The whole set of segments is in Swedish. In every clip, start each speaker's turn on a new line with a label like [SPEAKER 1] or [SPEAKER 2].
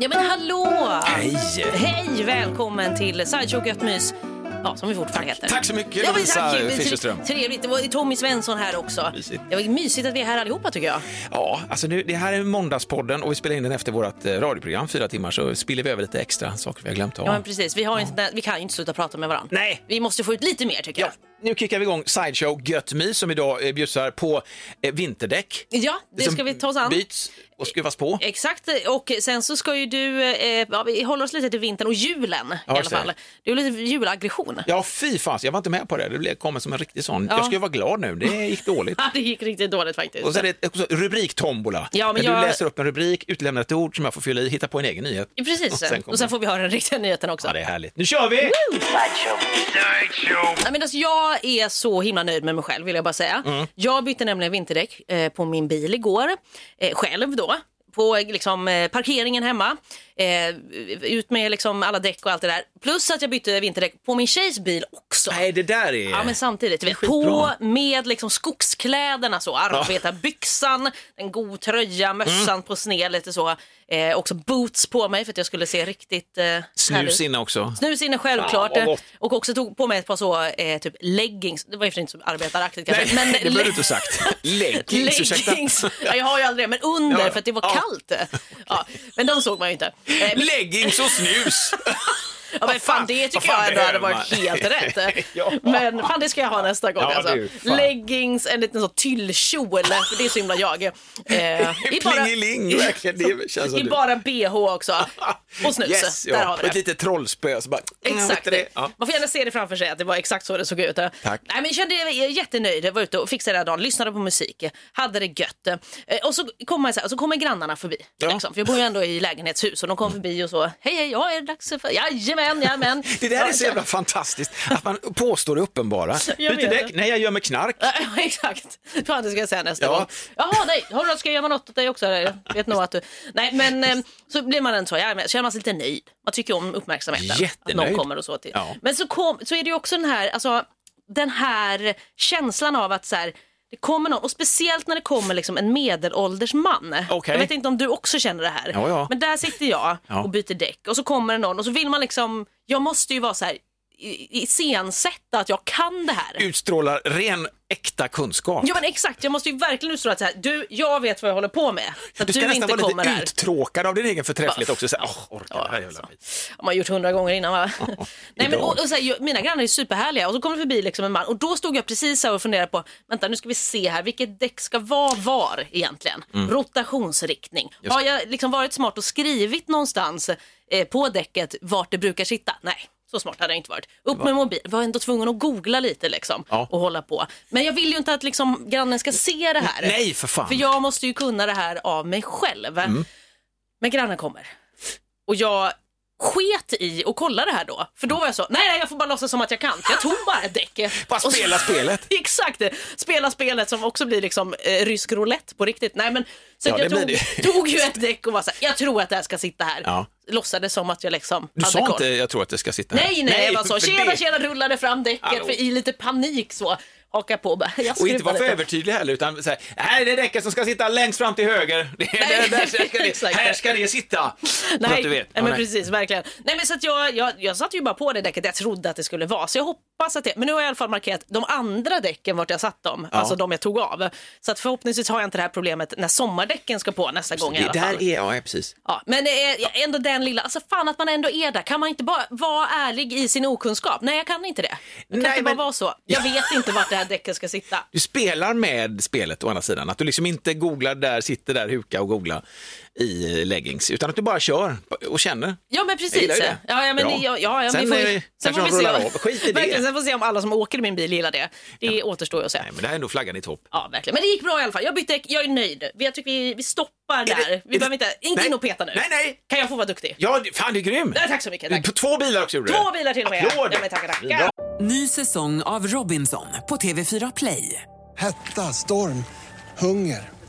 [SPEAKER 1] Ja men hallå! Hej! Hej! Välkommen till Sideshow Gött Mys. Ja, som vi fortfarande heter.
[SPEAKER 2] Tack så mycket,
[SPEAKER 1] Ja, men
[SPEAKER 2] Lovisa
[SPEAKER 1] tack. Det-
[SPEAKER 2] Fischerström.
[SPEAKER 1] Trevligt. Det var Tommy Svensson här också.
[SPEAKER 2] Mysigt.
[SPEAKER 1] Det var mysigt att vi är här allihopa tycker jag.
[SPEAKER 2] Ja, alltså nu, det här är Måndagspodden och vi spelar in den efter vårt eh, radioprogram, fyra timmar, så spiller vi över lite extra saker vi har glömt att
[SPEAKER 1] Ja,
[SPEAKER 2] ha.
[SPEAKER 1] men precis. Vi, har ju inte, vi kan ju inte sluta prata med varandra.
[SPEAKER 2] Nej.
[SPEAKER 1] Vi måste få ut lite mer tycker
[SPEAKER 2] Ja,
[SPEAKER 1] jag.
[SPEAKER 2] nu kickar vi igång Sideshow Gött My som idag eh, bjussar på eh, vinterdäck.
[SPEAKER 1] Ja, det
[SPEAKER 2] Som
[SPEAKER 1] ska vi ta oss an. Eh,
[SPEAKER 2] Byts och skruvas på.
[SPEAKER 1] Exakt, och sen så ska ju du, eh, ja, vi håller oss lite till vintern och julen i
[SPEAKER 2] Ja,
[SPEAKER 1] alla
[SPEAKER 2] just det.
[SPEAKER 1] fall. Du är lite julaggression.
[SPEAKER 2] Ja, fy fan, jag var inte med på det. Det blev- kom som en riktig sån. Jag ska ju vara glad nu, det gick dåligt.
[SPEAKER 1] Det gick riktigt dåligt faktiskt.
[SPEAKER 2] Och så är det också rubriktombola.
[SPEAKER 1] Ja, men
[SPEAKER 2] Där
[SPEAKER 1] jag-
[SPEAKER 2] Du läser upp en rubrik, utelämnar ett ord som jag får fylla i, hitta på en egen nyhet.
[SPEAKER 1] Ja, Precis, och sen,
[SPEAKER 2] kommer-
[SPEAKER 1] får vi höra den riktiga nyheten också.
[SPEAKER 2] Ja, det är härligt. Nu kör vi!
[SPEAKER 1] Nej, men alltså, jag är så himla nöjd med mig själv vill jag bara säga.
[SPEAKER 2] Mm.
[SPEAKER 1] Jag bytte nämligen vinterdäck eh, på min bil igår, eh, själv då. På eh, liksom, eh, parkeringen hemma, eh, ut med liksom, alla däck och allt det där. Plus att jag bytte vinterdäck på min tjejs bil också.
[SPEAKER 2] Nej, det där är...
[SPEAKER 1] Ja men samtidigt, vet, på
[SPEAKER 2] skitbra.
[SPEAKER 1] med liksom skogskläderna så, arbetarbyxan, en god tröja, mössan
[SPEAKER 2] Mm.
[SPEAKER 1] på sned lite så. Eh, också boots på mig för att jag skulle se riktigt eh, härlig ut.
[SPEAKER 2] Snus inne också.
[SPEAKER 1] Snus inne självklart.
[SPEAKER 2] Fan, vad gott.
[SPEAKER 1] och också tog på mig ett par så, eh, typ leggings. Det var ju för inte så arbetaraktigt kanske.
[SPEAKER 2] Nej, det behöver du inte ha sagt. Leggings, ursäkta.
[SPEAKER 1] Leggings. Ja, jag har ju aldrig det, men under
[SPEAKER 2] Ja, ja.
[SPEAKER 1] för att det var
[SPEAKER 2] Ja.
[SPEAKER 1] kallt. Ja, men de såg man ju inte. Eh, men-
[SPEAKER 2] Leggings och snus.
[SPEAKER 1] Ja, men
[SPEAKER 2] Vad
[SPEAKER 1] fan,
[SPEAKER 2] fan-
[SPEAKER 1] det
[SPEAKER 2] vad
[SPEAKER 1] tycker
[SPEAKER 2] fan
[SPEAKER 1] jag ändå hade
[SPEAKER 2] behöver
[SPEAKER 1] varit
[SPEAKER 2] man?
[SPEAKER 1] helt rätt.
[SPEAKER 2] Ja.
[SPEAKER 1] Men fan det ska jag ha nästa gång.
[SPEAKER 2] Ja,
[SPEAKER 1] alltså.
[SPEAKER 2] du, fan.
[SPEAKER 1] Leggings, en liten sån tyllkjol, eh, för det är så himla jag. Eh, i bara-
[SPEAKER 2] Plingeling, verkligen. Det känns som
[SPEAKER 1] I
[SPEAKER 2] du.
[SPEAKER 1] bara bh också. Och snus,
[SPEAKER 2] Yes, ja.
[SPEAKER 1] där har vi
[SPEAKER 2] Och
[SPEAKER 1] det.
[SPEAKER 2] ett litet trollspö. Så bara, mm,
[SPEAKER 1] Exakt.
[SPEAKER 2] vet du det? Ja.
[SPEAKER 1] Man får gärna se det framför sig att det var exakt så det såg ut. Tack. Nej, men jag kände jag är jättenöjd. Jag var ute och fixade den här dagen, lyssnade på musik, hade det gött. Eh, Och så kommer så här, och så kommer grannarna förbi.
[SPEAKER 2] Ja.
[SPEAKER 1] Liksom. För jag bor ju ändå i lägenhetshus och de kom förbi och så. Hej, hej, ja, är det dags för... Jajamän, jajamän.
[SPEAKER 2] Det där är så jävla fantastiskt, att man påstår det uppenbara.
[SPEAKER 1] Jag vet
[SPEAKER 2] Byter däck?
[SPEAKER 1] det.
[SPEAKER 2] Nej, jag gör mig knark.
[SPEAKER 1] Ja, Exakt. Fan, det ska jag säga nästa
[SPEAKER 2] Ja.
[SPEAKER 1] gång. Jaha, nej. Har du, ska jag göra något åt dig också? eller? Jag vet nog att du... Nej, men eh, så blir man en så. Ja, men känner man sig lite nöjd. Man tycker om uppmärksamheten. Att någon
[SPEAKER 2] Jättenöjd.
[SPEAKER 1] kommer och så till.
[SPEAKER 2] Ja.
[SPEAKER 1] Men så, kom, så är det ju också den här, alltså, den här känslan av att så här, det kommer någon, och speciellt när det kommer liksom en medelålders man.
[SPEAKER 2] Okej.
[SPEAKER 1] Jag vet inte om du också känner det här.
[SPEAKER 2] Ja, ja.
[SPEAKER 1] Men där sitter jag
[SPEAKER 2] Ja.
[SPEAKER 1] och byter däck och så kommer det någon och så vill man liksom, jag måste ju vara så här i- iscensätta att jag kan det här.
[SPEAKER 2] Utstrålar ren, äkta kunskap.
[SPEAKER 1] Ja men exakt, jag måste ju verkligen utstråla att så här, du, jag vet vad jag håller på med. Så att du,
[SPEAKER 2] Du ska nästan
[SPEAKER 1] inte
[SPEAKER 2] vara
[SPEAKER 1] kommer
[SPEAKER 2] lite
[SPEAKER 1] här. alltså.
[SPEAKER 2] uttråkad av din egen förträfflighet också. Så här, "Åh, orkar det här jävla skit."
[SPEAKER 1] Har man gjort hundra gånger innan va? Nej, men,
[SPEAKER 2] idag.
[SPEAKER 1] och, och, så här, jag- mina grannar är superhärliga och så kommer det förbi liksom en man och då stod jag precis här och funderade på, vänta nu ska vi se här, vilket däck ska vara var egentligen?
[SPEAKER 2] Mm.
[SPEAKER 1] Rotationsriktning. Har jag liksom varit smart och skrivit någonstans eh, på däcket vart det brukar sitta? Nej. Så smart hade jag inte varit. Upp med mobil. Var ändå tvungen att googla lite liksom
[SPEAKER 2] Ja.
[SPEAKER 1] och hålla på. Men jag vill ju inte att liksom grannen ska se det här.
[SPEAKER 2] Nej, för fan. Mm.
[SPEAKER 1] För jag måste ju kunna det här av mig själv. Men grannen kommer. Och jag sket i och kolla det här då. För då var jag så, nej, nej jag får bara låtsas som att jag kan. Jag tog bara ett däck.
[SPEAKER 2] Bara
[SPEAKER 1] Och så-
[SPEAKER 2] spela spelet.
[SPEAKER 1] Exakt, spela spelet som också blir liksom eh, rysk roulette på riktigt. Nej men, så
[SPEAKER 2] Ja,
[SPEAKER 1] att jag
[SPEAKER 2] det
[SPEAKER 1] tog,
[SPEAKER 2] blir det.
[SPEAKER 1] tog ju ett däck och var så här, jag tror att det här ska sitta här.
[SPEAKER 2] Ja.
[SPEAKER 1] Låtsades som att jag liksom
[SPEAKER 2] Du
[SPEAKER 1] hade
[SPEAKER 2] sa
[SPEAKER 1] koll.
[SPEAKER 2] inte, jag tror att det ska sitta här.
[SPEAKER 1] Nej, nej, jag bara så,
[SPEAKER 2] för
[SPEAKER 1] tjena,
[SPEAKER 2] det-
[SPEAKER 1] tjena, rullade fram däcket
[SPEAKER 2] Hallå.
[SPEAKER 1] för i lite panik så. Haka på och bara, jag
[SPEAKER 2] Och
[SPEAKER 1] skruvar
[SPEAKER 2] inte vara för
[SPEAKER 1] lite.
[SPEAKER 2] övertydlig heller, utan så här, här är det däcket som ska sitta längst fram till höger. Det är
[SPEAKER 1] Nej,
[SPEAKER 2] det, där ska det,
[SPEAKER 1] exakt.
[SPEAKER 2] här ska det sitta.
[SPEAKER 1] Nej,
[SPEAKER 2] så att du vet.
[SPEAKER 1] nej, men
[SPEAKER 2] Ja,
[SPEAKER 1] precis, verkligen. Nej, men så att jag, jag, jag satte ju bara på det däcket jag trodde att det skulle vara, så jag hoppas att det, men nu har jag i alla fall markerat de andra däcken vart jag satt dem, alltså de jag tog av. Så att förhoppningsvis har jag inte det här problemet när sommardäcken ska på nästa gång i alla
[SPEAKER 2] Det
[SPEAKER 1] fall.
[SPEAKER 2] där är, ja, precis.
[SPEAKER 1] Ja, men eh, ändå den lilla, alltså fan att man ändå är där, kan man inte bara vara ärlig i sin okunskap? Nej, jag kan inte det. Jag kan
[SPEAKER 2] Nej,
[SPEAKER 1] inte
[SPEAKER 2] men-
[SPEAKER 1] bara vara så. Jag vet inte vart det här däcket ska sitta.
[SPEAKER 2] Du spelar med spelet å andra sidan, att du liksom inte googlar där, sitter där, huka och googla. i leggings, utan att du bara kör och känner.
[SPEAKER 1] Ja men
[SPEAKER 2] Jag
[SPEAKER 1] precis.
[SPEAKER 2] gillar ju det.
[SPEAKER 1] Ja, ja, men
[SPEAKER 2] Bra.
[SPEAKER 1] det- ja, ja, ja,
[SPEAKER 2] Sen
[SPEAKER 1] vi får,
[SPEAKER 2] är
[SPEAKER 1] ju-
[SPEAKER 2] det- kanske de rullar av. Skit i det.
[SPEAKER 1] Verkligen, sen får vi se om alla som åker i min bil gillar det. Det återstår ju att se.
[SPEAKER 2] Nej, men det här är nog flaggan i topp.
[SPEAKER 1] Ja, verkligen. Men det gick bra i alla fall. Jag bytte däck, jag är nöjd. Vi- Jag tycker vi, vi stoppar
[SPEAKER 2] det-
[SPEAKER 1] där.
[SPEAKER 2] är
[SPEAKER 1] vi
[SPEAKER 2] det-
[SPEAKER 1] behöver inte, inte
[SPEAKER 2] Nej.
[SPEAKER 1] in och peta nu.
[SPEAKER 2] Nej, nej.
[SPEAKER 1] Kan jag få vara duktig?
[SPEAKER 2] Ja, det- fan du är grym!
[SPEAKER 1] Nej, tack så mycket, tack.
[SPEAKER 2] På Två bilar också gjorde du.
[SPEAKER 1] Två bilar till och med.
[SPEAKER 2] Applåd!
[SPEAKER 1] Ja, men tackar, tackar.
[SPEAKER 2] Bra.
[SPEAKER 3] Ny säsong av Robinson på TV4 Play.
[SPEAKER 4] Hetta, storm, hunger.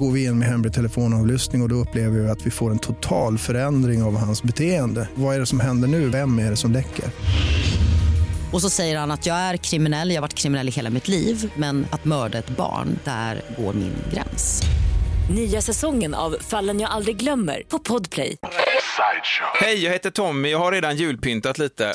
[SPEAKER 5] går vi in med hemlig telefonavlyssning och, och då upplever vi att vi får en total förändring av hans beteende. Vad är det som händer nu? Vem är det som läcker?
[SPEAKER 6] Och så säger han att jag är kriminell, jag har varit kriminell i hela mitt liv men att mörda ett barn, där går min gräns.
[SPEAKER 7] Nya säsongen av Fallen jag aldrig glömmer på Podplay.
[SPEAKER 2] Hej, jag heter Tommy. Jag har redan julpyntat lite.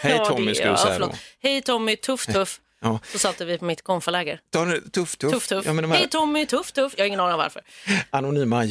[SPEAKER 2] Hej
[SPEAKER 1] Ja,
[SPEAKER 2] Tommy
[SPEAKER 1] det-
[SPEAKER 2] skulle du
[SPEAKER 1] ja,
[SPEAKER 2] säga då.
[SPEAKER 1] förlåt. Hej Tommy, tuff tuff.
[SPEAKER 2] Ja.
[SPEAKER 1] Så satte vi på mitt konfaläger.
[SPEAKER 2] Ta nu- Tuff, tuff.
[SPEAKER 1] Tuff tuff.
[SPEAKER 2] Ja, men de
[SPEAKER 1] Hej
[SPEAKER 2] här
[SPEAKER 1] Tommy, tuff tuff. Jag har ingen aning om varför.
[SPEAKER 2] anonyma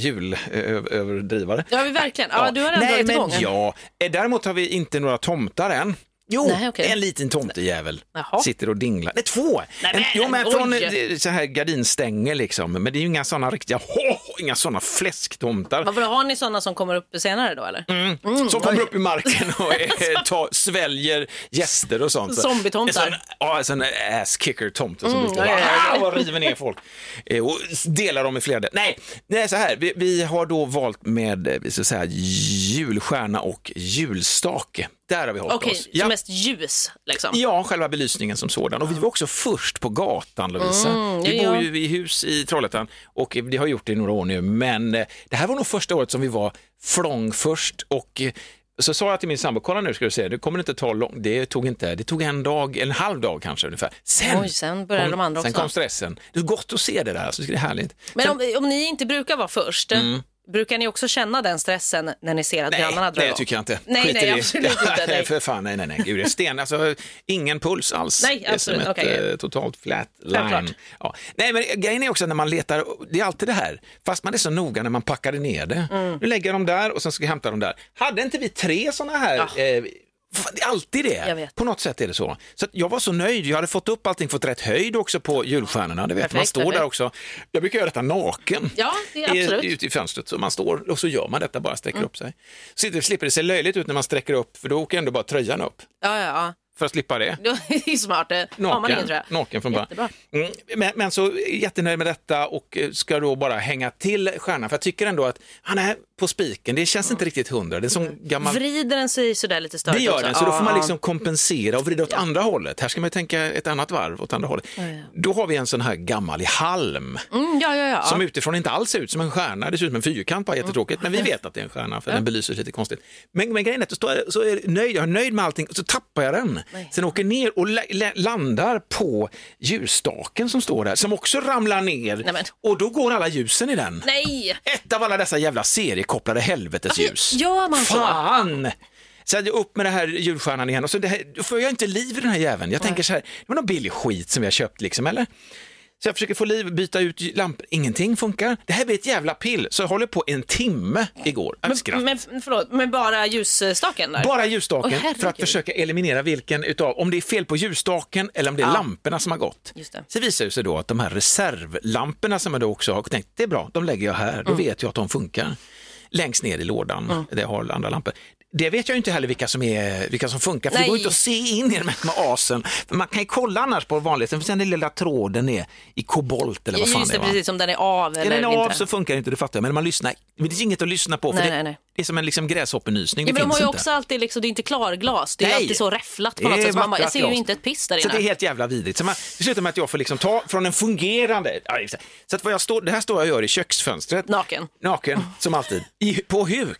[SPEAKER 2] julöverdrivare.
[SPEAKER 1] Ja, vi verkligen. Ja, du har ändå
[SPEAKER 2] Nej,
[SPEAKER 1] dragit
[SPEAKER 2] men
[SPEAKER 1] igång.
[SPEAKER 2] ja. Eh, Däremot har vi inte några tomtar än. Jo,
[SPEAKER 1] Nej, okej.
[SPEAKER 2] en liten tomtejävel
[SPEAKER 1] Jaha.
[SPEAKER 2] sitter och dinglar. Nej, två!
[SPEAKER 1] Nej,
[SPEAKER 2] en,
[SPEAKER 1] men,
[SPEAKER 2] jo, men från
[SPEAKER 1] oj.
[SPEAKER 2] eh, så här gardinstänger liksom. Men det är ju inga sådana riktiga, ho, ho, inga sådana fläsktomtar.
[SPEAKER 1] Varför har ni sådana som kommer upp senare då eller?
[SPEAKER 2] Mm. som kommer upp i marken och eh, ta, sväljer gäster och sånt.
[SPEAKER 1] Zombietomtar.
[SPEAKER 2] En sån- Ja, en sån ass-kicker-tomte som brukar
[SPEAKER 1] ja, ja,
[SPEAKER 2] mm, och river ner folk. Eh, Och s- delar dem i flera delar. Nej, nej, så här, vi, vi har då valt med eh, så att säga, julstjärna och julstake. Där har vi hållit
[SPEAKER 1] Okej,
[SPEAKER 2] oss.
[SPEAKER 1] så
[SPEAKER 2] Ja.
[SPEAKER 1] mest ljus liksom.
[SPEAKER 2] Ja, själva belysningen som sådan. Och vi var också först på gatan, Lovisa. vi
[SPEAKER 1] Mm, ja,
[SPEAKER 2] bor
[SPEAKER 1] ja.
[SPEAKER 2] ju i hus i Trollhättan och det har gjort det i några år nu. Men eh, det här var nog första året som vi var flång först och eh, så sa jag till min sambo, kolla nu ska du se, det kommer inte ta lång, det tog inte, det tog en dag, en halv dag kanske ungefär. Sen,
[SPEAKER 1] Oj, sen började de andra
[SPEAKER 2] sen
[SPEAKER 1] också.
[SPEAKER 2] kom stressen. Det är gott att se det där, alltså, det är härligt.
[SPEAKER 1] Men om, om ni inte brukar vara först, brukar ni också känna den stressen när ni ser att
[SPEAKER 2] Mm. Nej,
[SPEAKER 1] grannarna drar
[SPEAKER 2] nej,
[SPEAKER 1] igång?
[SPEAKER 2] tycker jag inte.
[SPEAKER 1] Nej,
[SPEAKER 2] Skit i
[SPEAKER 1] nej,
[SPEAKER 2] det.
[SPEAKER 1] absolut inte. Nej.
[SPEAKER 2] Nej, för fan, nej, nej, nej. Gud, jag är sten, alltså, ingen puls alls.
[SPEAKER 1] Nej,
[SPEAKER 2] Det är som
[SPEAKER 1] absolut,
[SPEAKER 2] ett
[SPEAKER 1] okej.
[SPEAKER 2] eh, totalt flat
[SPEAKER 1] Självklart.
[SPEAKER 2] line. Ja. Nej, men grejen är också när man letar, det är alltid det här, fast man är så noga när man packade ner det.
[SPEAKER 1] Mm.
[SPEAKER 2] Nu lägger jag dem där och sen ska jag hämta dem där. Hade inte vi tre sådana här eh, f- det är alltid det.
[SPEAKER 1] Jag vet.
[SPEAKER 2] På något sätt är det så. Så att jag var så nöjd. Jag hade fått upp allting, fått rätt höjd också på julstjärnorna. Det vet. man
[SPEAKER 1] Perfekt,
[SPEAKER 2] står
[SPEAKER 1] perfekt.
[SPEAKER 2] där också. Jag brukar göra detta naken.
[SPEAKER 1] Ja, det är
[SPEAKER 2] I-
[SPEAKER 1] absolut. Mm.
[SPEAKER 2] Ut i fönstret. Så man står och så gör man detta, bara sträcker upp sig. Så det slipper det se löjligt ut när man sträcker upp, för då åker ändå bara tröjan upp.
[SPEAKER 1] Ja, ja, ja.
[SPEAKER 2] För att slippa det.
[SPEAKER 1] Då är det ju smart. Det har man ingen
[SPEAKER 2] Naken,
[SPEAKER 1] tröja.
[SPEAKER 2] naken från början.
[SPEAKER 1] Jättebra.
[SPEAKER 2] Mm, men, men så jättenöjd med detta och eh, ska då bara hänga till stjärnan. För jag tycker ändå att han är på spiken. Det känns inte riktigt hundra. Det är som gammal...
[SPEAKER 1] Vrider den sig sådär lite större
[SPEAKER 2] Det gör
[SPEAKER 1] Mm. också?
[SPEAKER 2] den, så då
[SPEAKER 1] Ja,
[SPEAKER 2] får man
[SPEAKER 1] ja.
[SPEAKER 2] liksom kompensera och vrida åt andra hållet. Här ska man ju tänka ett annat varv åt andra hållet. Då har vi en sån här gammal i halm
[SPEAKER 1] Mm, ja, ja, ja.
[SPEAKER 2] som utifrån inte alls ser ut som en stjärna. Det ser ut som en fyrkant, bara jättetråkigt. Men vi
[SPEAKER 1] Mm.
[SPEAKER 2] vet att det är en stjärna för den belyser lite konstigt. Men, men grejen är att då står jag, så är jag nöjd, jag är nöjd med allting, så tappar jag den. Sen åker ner och la- la- landar på ljusstaken som står där, som också ramlar ner.
[SPEAKER 1] Nej, men-
[SPEAKER 2] Och då går alla ljusen i den.
[SPEAKER 1] Nej!
[SPEAKER 2] Ett av alla dessa jävla seriekopplade helvetes
[SPEAKER 1] Varför
[SPEAKER 2] ljus.
[SPEAKER 1] Alltså, gör man så?
[SPEAKER 2] Fan! Så jag upp med den här julstjärnan igen och så det här, då får jag inte liv i den här jäveln. Jag tänker så här, det var någon billig skit som vi har köpt liksom, eller? Så jag försöker få liv, byta ut lampor, ingenting funkar. Det här blir ett jävla pill, så jag håller på en timme igår. Men, skratt.
[SPEAKER 1] Men förlåt, men bara ljusstaken där?
[SPEAKER 2] Bara ljusstaken
[SPEAKER 1] Åh, herregud.
[SPEAKER 2] för att försöka eliminera vilken utav, om det är fel på ljusstaken eller om det är lamporna som har gått.
[SPEAKER 1] Just det.
[SPEAKER 2] Så visar det sig då att de här reservlamporna som jag då också har tänkt, det är bra, de lägger jag här, då
[SPEAKER 1] Mm.
[SPEAKER 2] vet jag att de funkar. Längst ner i lådan, där jag har andra lampor. Det vet jag ju inte heller vilka som, är, vilka som funkar, för
[SPEAKER 1] Nej.
[SPEAKER 2] det går ju inte att se in i dem med asen. För man kan ju kolla annars på vanligt, för sen den lilla tråden är i kobolt eller vad fan
[SPEAKER 1] Just
[SPEAKER 2] det
[SPEAKER 1] det,
[SPEAKER 2] är. va?
[SPEAKER 1] precis som den är av
[SPEAKER 2] Är
[SPEAKER 1] eller
[SPEAKER 2] den av
[SPEAKER 1] inte.
[SPEAKER 2] så funkar det inte, det fattar jag, men man lyssnar, men det finns inget att lyssna på, för
[SPEAKER 1] Nej,
[SPEAKER 2] det,
[SPEAKER 1] nej, nej.
[SPEAKER 2] det är som en liksom gräshoppenysning,
[SPEAKER 1] Ja,
[SPEAKER 2] det
[SPEAKER 1] men de
[SPEAKER 2] finns
[SPEAKER 1] har ju
[SPEAKER 2] inte.
[SPEAKER 1] också alltid, liksom, det är inte klarglas, det är ju
[SPEAKER 2] Nej.
[SPEAKER 1] alltid så räfflat på något
[SPEAKER 2] Det är
[SPEAKER 1] sätt. så Man bara, jag
[SPEAKER 2] vackert
[SPEAKER 1] ser ju
[SPEAKER 2] glas.
[SPEAKER 1] inte ett piss där
[SPEAKER 2] Så
[SPEAKER 1] inne.
[SPEAKER 2] det är helt jävla vidrigt. Så man, det slutar med att jag får liksom ta från en fungerande... Ja, just det. Så att vad jag står, det här står jag och gör i köksfönstret.
[SPEAKER 1] Naken.
[SPEAKER 2] Naken, som alltid. I, på huk.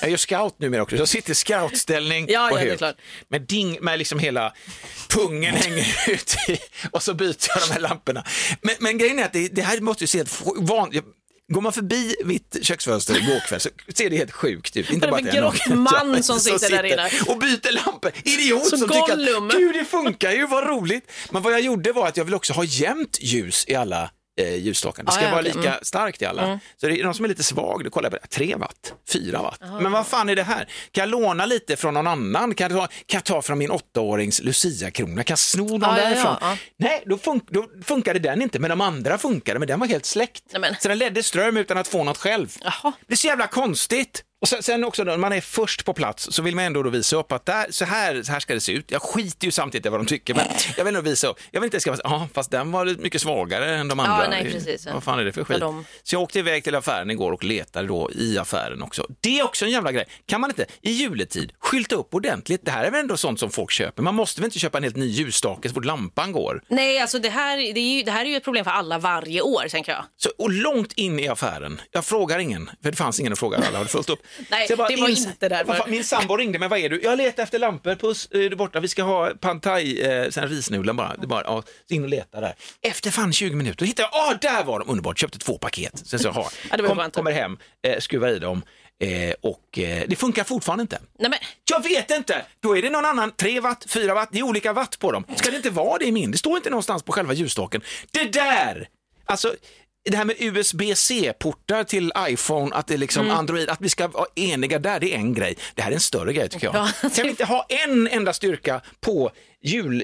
[SPEAKER 2] Jag gör scout numera också, så jag sitter i scoutställning
[SPEAKER 1] Ja,
[SPEAKER 2] på
[SPEAKER 1] ja, det är
[SPEAKER 2] huk.
[SPEAKER 1] klart.
[SPEAKER 2] Med, ding, med liksom hela pungen hänger ut i, och så byter jag de här lamporna. Men, men grejen är att det, det här måste ju se helt f- van, jag Går man förbi mitt köksfönster igår kväll så ser det helt sjukt ut. Inte
[SPEAKER 1] Det är
[SPEAKER 2] bara
[SPEAKER 1] en
[SPEAKER 2] att jag är
[SPEAKER 1] grock
[SPEAKER 2] naken.
[SPEAKER 1] man
[SPEAKER 2] Ja,
[SPEAKER 1] som sitter där inne.
[SPEAKER 2] Och byter lampor. Idiot
[SPEAKER 1] Som
[SPEAKER 2] som, tycker
[SPEAKER 1] Gollum.
[SPEAKER 2] att gud det funkar ju, vad roligt. Men vad jag gjorde var att jag vill också ha jämnt ljus i alla eh, ljusstakar. Det ska
[SPEAKER 1] Ah, ja,
[SPEAKER 2] vara
[SPEAKER 1] okej. Mm.
[SPEAKER 2] lika starkt i alla. Så det är någon som är lite svag, då kollar jag på 3 watt, 4 watt.
[SPEAKER 1] Ah.
[SPEAKER 2] Men vad fan är det här? Kan jag låna lite från någon annan? Kan jag ta, kan jag ta från min åttaårings Lucia-krona? Kan jag sno någon
[SPEAKER 1] Ah, ja, ja,
[SPEAKER 2] därifrån?
[SPEAKER 1] ja.
[SPEAKER 2] Nej, då, fun- då funkade den inte, men de andra funkade, men den var helt släckt.
[SPEAKER 1] Nej, men.
[SPEAKER 2] Så den ledde ström utan att få något själv.
[SPEAKER 1] Jaha.
[SPEAKER 2] Det är så jävla konstigt. Och sen, sen också då, när man är först på plats så vill man ändå då visa upp att där, så, här, så här ska det se ut. Jag skiter ju samtidigt i vad de tycker, men jag vill ändå visa upp. Jag vill inte skriva, ja fast den var mycket svagare än de andra.
[SPEAKER 1] nej, precis.
[SPEAKER 2] Vad fan är det för
[SPEAKER 1] Ja,
[SPEAKER 2] skit?
[SPEAKER 1] de-
[SPEAKER 2] Så jag åkte iväg till affären igår och letade då i affären också. Det är också en jävla grej. Kan man inte i juletid skylta upp ordentligt? Det här är väl ändå sånt som folk köper? Man måste väl inte köpa en helt ny ljusstake så fort lampan går?
[SPEAKER 1] Nej, alltså det här, det, är ju, det här är ju ett problem för alla varje år, tänker jag.
[SPEAKER 2] Så, och långt in i affären, jag frågar ingen, för det fanns ingen att fråga, alla hade fullt upp.
[SPEAKER 1] Nej,
[SPEAKER 2] Så jag
[SPEAKER 1] det var inte därför.
[SPEAKER 2] Vad fan, Min sambo ringde mig, vad är du? Jag letar efter lampor, puss, eh, du är borta, vi ska ha pantaj, eh, sen risnudlen bara. Det bara ja, så in och leta där. Efter fan 20 minuter, då hittade jag, ah, där var de, underbart, köpte två paket. Sen så, ha.
[SPEAKER 1] Ja, det var
[SPEAKER 2] Kom,
[SPEAKER 1] skönt.
[SPEAKER 2] kommer hem, eh, skruvar i dem eh, och eh, det funkar fortfarande inte.
[SPEAKER 1] Nej, men,
[SPEAKER 2] Jag vet inte! Då är det någon annan, 3 watt, 4 watt, det är olika watt på dem. Ska det inte vara det i min? Det står inte någonstans på själva ljusstaken. Det där! Alltså, det här med USB-C-portar till iPhone, att det är liksom Android, att vi ska vara eniga där, det är en grej. Det här är en större grej tycker jag. Kan vi inte ha en enda styrka på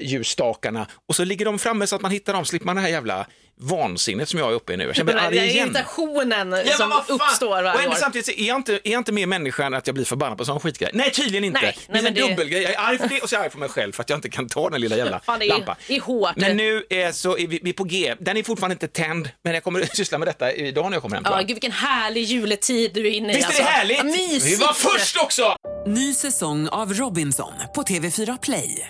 [SPEAKER 2] julljusstakarna och så ligger de framme så att man hittar dem, slipper man det här jävla vansinnet som jag är uppe i nu. Jag känner
[SPEAKER 1] den
[SPEAKER 2] mig
[SPEAKER 1] här
[SPEAKER 2] arg
[SPEAKER 1] den här
[SPEAKER 2] igen.
[SPEAKER 1] irritationen
[SPEAKER 2] Ja,
[SPEAKER 1] som
[SPEAKER 2] men vad fan!
[SPEAKER 1] uppstår
[SPEAKER 2] Och
[SPEAKER 1] varje
[SPEAKER 2] ändå
[SPEAKER 1] år.
[SPEAKER 2] samtidigt så är jag, inte, är jag inte mer människa än att jag blir förbannad på sån skitgrej. Nej, tydligen inte.
[SPEAKER 1] Nej, nej,
[SPEAKER 2] det är
[SPEAKER 1] men
[SPEAKER 2] en
[SPEAKER 1] det-
[SPEAKER 2] dubbelgrej. Jag är arg för det och så är jag arg på mig själv för att jag inte kan ta den lilla jävla
[SPEAKER 1] Fan, det är-
[SPEAKER 2] lampan.
[SPEAKER 1] det är hårt.
[SPEAKER 2] Men nu är, så är vi, vi är på G. Den är fortfarande inte tänd, men jag kommer att syssla med detta idag när jag kommer hem. tror
[SPEAKER 1] Ja,
[SPEAKER 2] jag.
[SPEAKER 1] gud vilken härlig juletid du är inne i.
[SPEAKER 2] Visst är det
[SPEAKER 1] alltså.
[SPEAKER 2] härligt?
[SPEAKER 1] Ja, mysigt.
[SPEAKER 2] Vi var först också!
[SPEAKER 3] Ny säsong av Robinson på TV4 Play.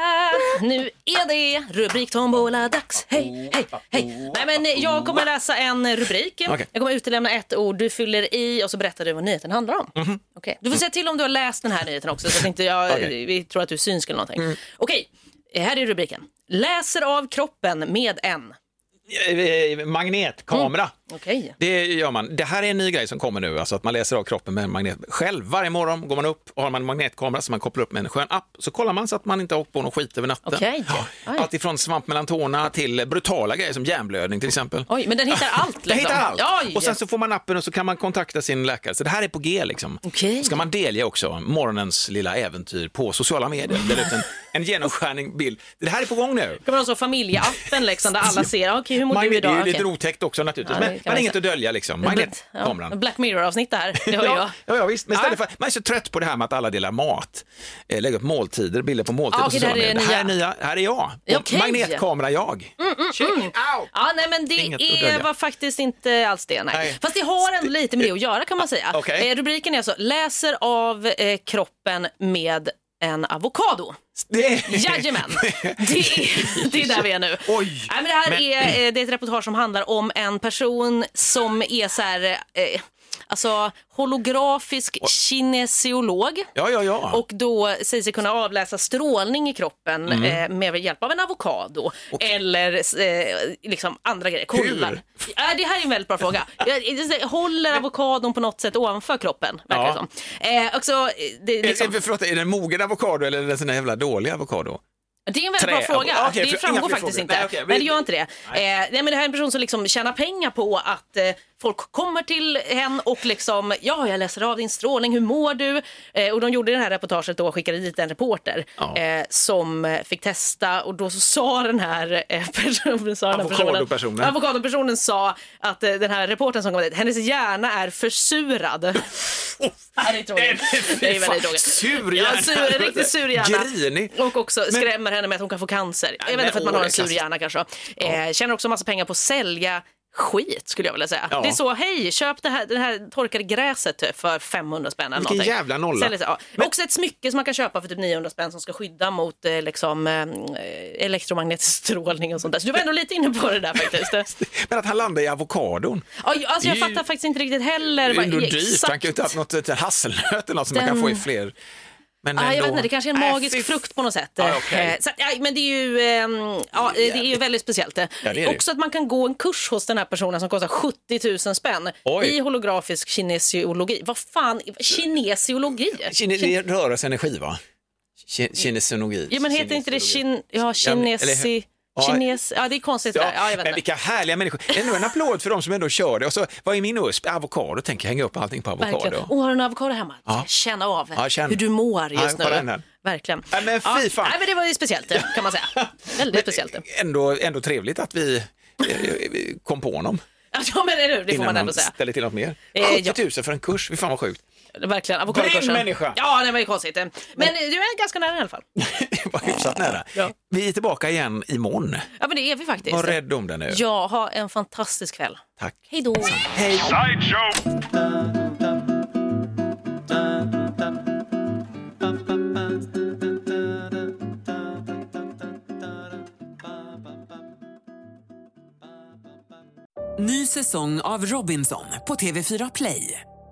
[SPEAKER 1] Nu är det rubriktombola-dags.
[SPEAKER 2] Oh,
[SPEAKER 1] Hej, hej, hej. Nej, men eh, jag kommer läsa en rubrik.
[SPEAKER 2] Okej.
[SPEAKER 1] Jag kommer utelämna ett ord. Du fyller i och så berättar du vad nyheten handlar om.
[SPEAKER 2] Mhm.
[SPEAKER 1] Okej. Du får säga till om du har läst den här nyheten också så att inte jag,
[SPEAKER 2] Okej. Mm.
[SPEAKER 1] vi tror att du är synsk eller någonting. Okej, eh, här är rubriken. Läser av kroppen med en.
[SPEAKER 2] Eh, eh, Magnetkamera.
[SPEAKER 1] Okej.
[SPEAKER 2] Det gör man. Det här är en ny grej som kommer nu, alltså att man läser av kroppen med en magnet. Själv varje morgon går man upp och har man en magnetkamera som man kopplar upp med en skön app. Så kollar man så att man inte har åkt på någon skit över natten.
[SPEAKER 1] Okej.
[SPEAKER 2] Ja.
[SPEAKER 1] Oj.
[SPEAKER 2] Allt ifrån svamp mellan tårna till brutala grejer som hjärnblödning till exempel.
[SPEAKER 1] Oj, men den hittar allt. liksom.
[SPEAKER 2] Den hittar allt.
[SPEAKER 1] Oj.
[SPEAKER 2] Och sen så får man appen och så kan man kontakta sin läkare. Så det här är på G liksom.
[SPEAKER 1] Okej.
[SPEAKER 2] Ska man delge också morgonens lilla äventyr på sociala medier. Där ut en, en genomskärning bild. Det här är på gång nu.
[SPEAKER 1] Kan man ha så familjeappen liksom, där alla ser, okej hur mår
[SPEAKER 2] Magnet
[SPEAKER 1] du
[SPEAKER 2] det är
[SPEAKER 1] idag?
[SPEAKER 2] ju
[SPEAKER 1] Okej.
[SPEAKER 2] lite otäckt också naturligtvis.
[SPEAKER 1] Ja, det
[SPEAKER 2] men
[SPEAKER 1] kan
[SPEAKER 2] man
[SPEAKER 1] man
[SPEAKER 2] har inget
[SPEAKER 1] säga.
[SPEAKER 2] att dölja liksom.
[SPEAKER 1] Ja,
[SPEAKER 2] Magnetkameran.
[SPEAKER 1] Black Mirror-avsnitt det här, det hör jag.
[SPEAKER 2] Ja, ja, ja, visst. Men istället för, man är så trött på det här med att alla delar mat. Eh, lägga upp måltider, bilder på måltider.
[SPEAKER 1] Ah,
[SPEAKER 2] på
[SPEAKER 1] okej,
[SPEAKER 2] sociala
[SPEAKER 1] det här är
[SPEAKER 2] medier. här är
[SPEAKER 1] nya.
[SPEAKER 2] nya. Här är jag.
[SPEAKER 1] Okej. Mm,
[SPEAKER 2] Magnetkamera-jag. Check it out!
[SPEAKER 1] Ja, nej men
[SPEAKER 2] Inget att
[SPEAKER 1] det är,
[SPEAKER 2] dölja.
[SPEAKER 1] var faktiskt inte alls det. Nej.
[SPEAKER 2] Nej.
[SPEAKER 1] Fast det har ändå lite med det att göra kan man säga.
[SPEAKER 2] okej.
[SPEAKER 1] Eh, rubriken är alltså “Läser av eh, kroppen med en avokado”.
[SPEAKER 2] Det-
[SPEAKER 1] Jajamän, det är, det är där vi är nu.
[SPEAKER 2] Oj.
[SPEAKER 1] Nej, men det här
[SPEAKER 2] Men-
[SPEAKER 1] Är, eh, det är ett reportage som handlar om en person som är så här, eh, alltså holografisk kinesiolog.
[SPEAKER 2] Ja, ja, ja.
[SPEAKER 1] Och då säger sig kunna avläsa strålning i kroppen eh, med hjälp av en avokado eller eh, liksom andra grejer. Kollar. Äh, det här är en väldigt bra fråga. Jag, jag, säger, håller avokadon på något sätt ovanför kroppen? Verkar
[SPEAKER 2] Ja.
[SPEAKER 1] det som. Eh, också, eh, det, är liksom,
[SPEAKER 2] Är, är, förlåt, är det en mogen avokado eller är det en sån där jävla dålig avokado?
[SPEAKER 1] det är en väldigt
[SPEAKER 2] Trä-
[SPEAKER 1] bra fråga.
[SPEAKER 2] okej, för-
[SPEAKER 1] det
[SPEAKER 2] inga
[SPEAKER 1] framgår
[SPEAKER 2] fler
[SPEAKER 1] faktiskt
[SPEAKER 2] frågor.
[SPEAKER 1] inte.
[SPEAKER 2] Nej,
[SPEAKER 1] Nej,
[SPEAKER 2] okej, men-
[SPEAKER 1] det gör inte det. Eh, nej, men det här är en person som liksom tjänar pengar på att eh, Folk kommer till henne och liksom, ja, jag läser av din strålning, hur mår du? Eh, och de gjorde det här reportaget då och skickade dit en reporter
[SPEAKER 2] Ja.
[SPEAKER 1] eh, som eh, fick testa och då så sa den här eh, personen, sa den här
[SPEAKER 2] Avokadopersonen.
[SPEAKER 1] avokadopersonen sa att eh, den här reportern som kom dit, hennes hjärna är försurad. Ja, det är tråkigt. Det är väldigt tråkigt.
[SPEAKER 2] Sur
[SPEAKER 1] Ja,
[SPEAKER 2] hjärna.
[SPEAKER 1] sur, riktigt sur hjärna.
[SPEAKER 2] Grinig.
[SPEAKER 1] Och också
[SPEAKER 2] Men-
[SPEAKER 1] skrämmer henne med att hon kan få cancer. Jag vet
[SPEAKER 2] men,
[SPEAKER 1] inte för att man
[SPEAKER 2] åh,
[SPEAKER 1] har
[SPEAKER 2] det
[SPEAKER 1] en
[SPEAKER 2] är
[SPEAKER 1] sur
[SPEAKER 2] klassiskt.
[SPEAKER 1] hjärna kanske. Eh, tjänar också massa pengar på att sälja skit skulle jag vilja säga.
[SPEAKER 2] Ja.
[SPEAKER 1] Det är så, hej, köp det här, det här torkade gräset typ för 500 spänn eller
[SPEAKER 2] Vilken
[SPEAKER 1] någonting.
[SPEAKER 2] jävla nolla.
[SPEAKER 1] Säljer sig, ja. Också ett smycke som man kan köpa för typ 900 spänn som ska skydda mot eh, liksom, eh, elektromagnetisk strålning och sånt där. Så du var ändå lite inne på det där faktiskt.
[SPEAKER 2] Men att han landade i avokadon.
[SPEAKER 1] Ja, alltså, jag
[SPEAKER 2] Det är ju-
[SPEAKER 1] fattar faktiskt inte riktigt
[SPEAKER 2] Det
[SPEAKER 1] heller.
[SPEAKER 2] är ju
[SPEAKER 1] vad-
[SPEAKER 2] ändå dyrt. Han kan ju inte ha haft något ett hasselnöt eller något som man kan få i
[SPEAKER 1] Den-
[SPEAKER 2] fler. Men
[SPEAKER 1] Ja, Ah, jag
[SPEAKER 2] ändå.
[SPEAKER 1] vet inte, det kanske är en
[SPEAKER 2] Nej,
[SPEAKER 1] magisk
[SPEAKER 2] fy
[SPEAKER 1] frukt på något sätt.
[SPEAKER 2] Ja, okej.
[SPEAKER 1] Eh, Så, att, aj, men det är ju, ehm, ja, det är ju väldigt speciellt.
[SPEAKER 2] det är det.
[SPEAKER 1] Också att man kan gå en kurs hos den här personen som kostar 70 000 spänn
[SPEAKER 2] Oj.
[SPEAKER 1] i holografisk kinesiologi. Vad fan, kinesiologi?
[SPEAKER 2] Kine, det är rörelseenergi va? Ki- Kinesiologi.
[SPEAKER 1] Ja, men heter inte det
[SPEAKER 2] Kinesiologi.
[SPEAKER 1] kin, ja, kinesi...
[SPEAKER 2] Ja,
[SPEAKER 1] Kines, ja, det är konstigt.
[SPEAKER 2] Ja,
[SPEAKER 1] där. Ja, jag vet
[SPEAKER 2] men
[SPEAKER 1] inte.
[SPEAKER 2] vilka härliga människor. Ändå en applåd för de som ändå kör det. Och så, vad är min USP? Avokado, tänker hänga upp allting på
[SPEAKER 1] Verkligen. Oh,
[SPEAKER 2] avokado.
[SPEAKER 1] Och har du en avokado hemma?
[SPEAKER 2] Ja.
[SPEAKER 1] Känna av
[SPEAKER 2] Ja, känn.
[SPEAKER 1] hur du mår
[SPEAKER 2] Ja,
[SPEAKER 1] just
[SPEAKER 2] kolla den
[SPEAKER 1] nu.
[SPEAKER 2] här.
[SPEAKER 1] Verkligen.
[SPEAKER 2] Nej, men fy fan.
[SPEAKER 1] Nej, men det var ju speciellt kan man säga. Väldigt speciellt.
[SPEAKER 2] Ändå, ändå trevligt att vi eh, kom på honom
[SPEAKER 1] Ja, men eller hur? Det får
[SPEAKER 2] innan
[SPEAKER 1] man
[SPEAKER 2] han
[SPEAKER 1] ändå säga.
[SPEAKER 2] ställde till något mer.
[SPEAKER 1] Eh, ja.
[SPEAKER 2] 70 000 för en kurs, fy fan vad sjukt.
[SPEAKER 1] Verkligen, avokadokursen.
[SPEAKER 2] Brinn människa!
[SPEAKER 1] Ja, nej, men det är konstigt. Men, eh, du är ganska nära i alla fall.
[SPEAKER 2] Det var hyfsat nära.
[SPEAKER 1] Ja.
[SPEAKER 2] Vi är tillbaka igen imorgon.
[SPEAKER 1] Ja, men det är vi faktiskt.
[SPEAKER 2] Var rädd om den nu.
[SPEAKER 1] Ja, ha en fantastisk kväll.
[SPEAKER 2] Tack.
[SPEAKER 1] Hej då!
[SPEAKER 3] Ny säsong av Robinson på TV4 Play.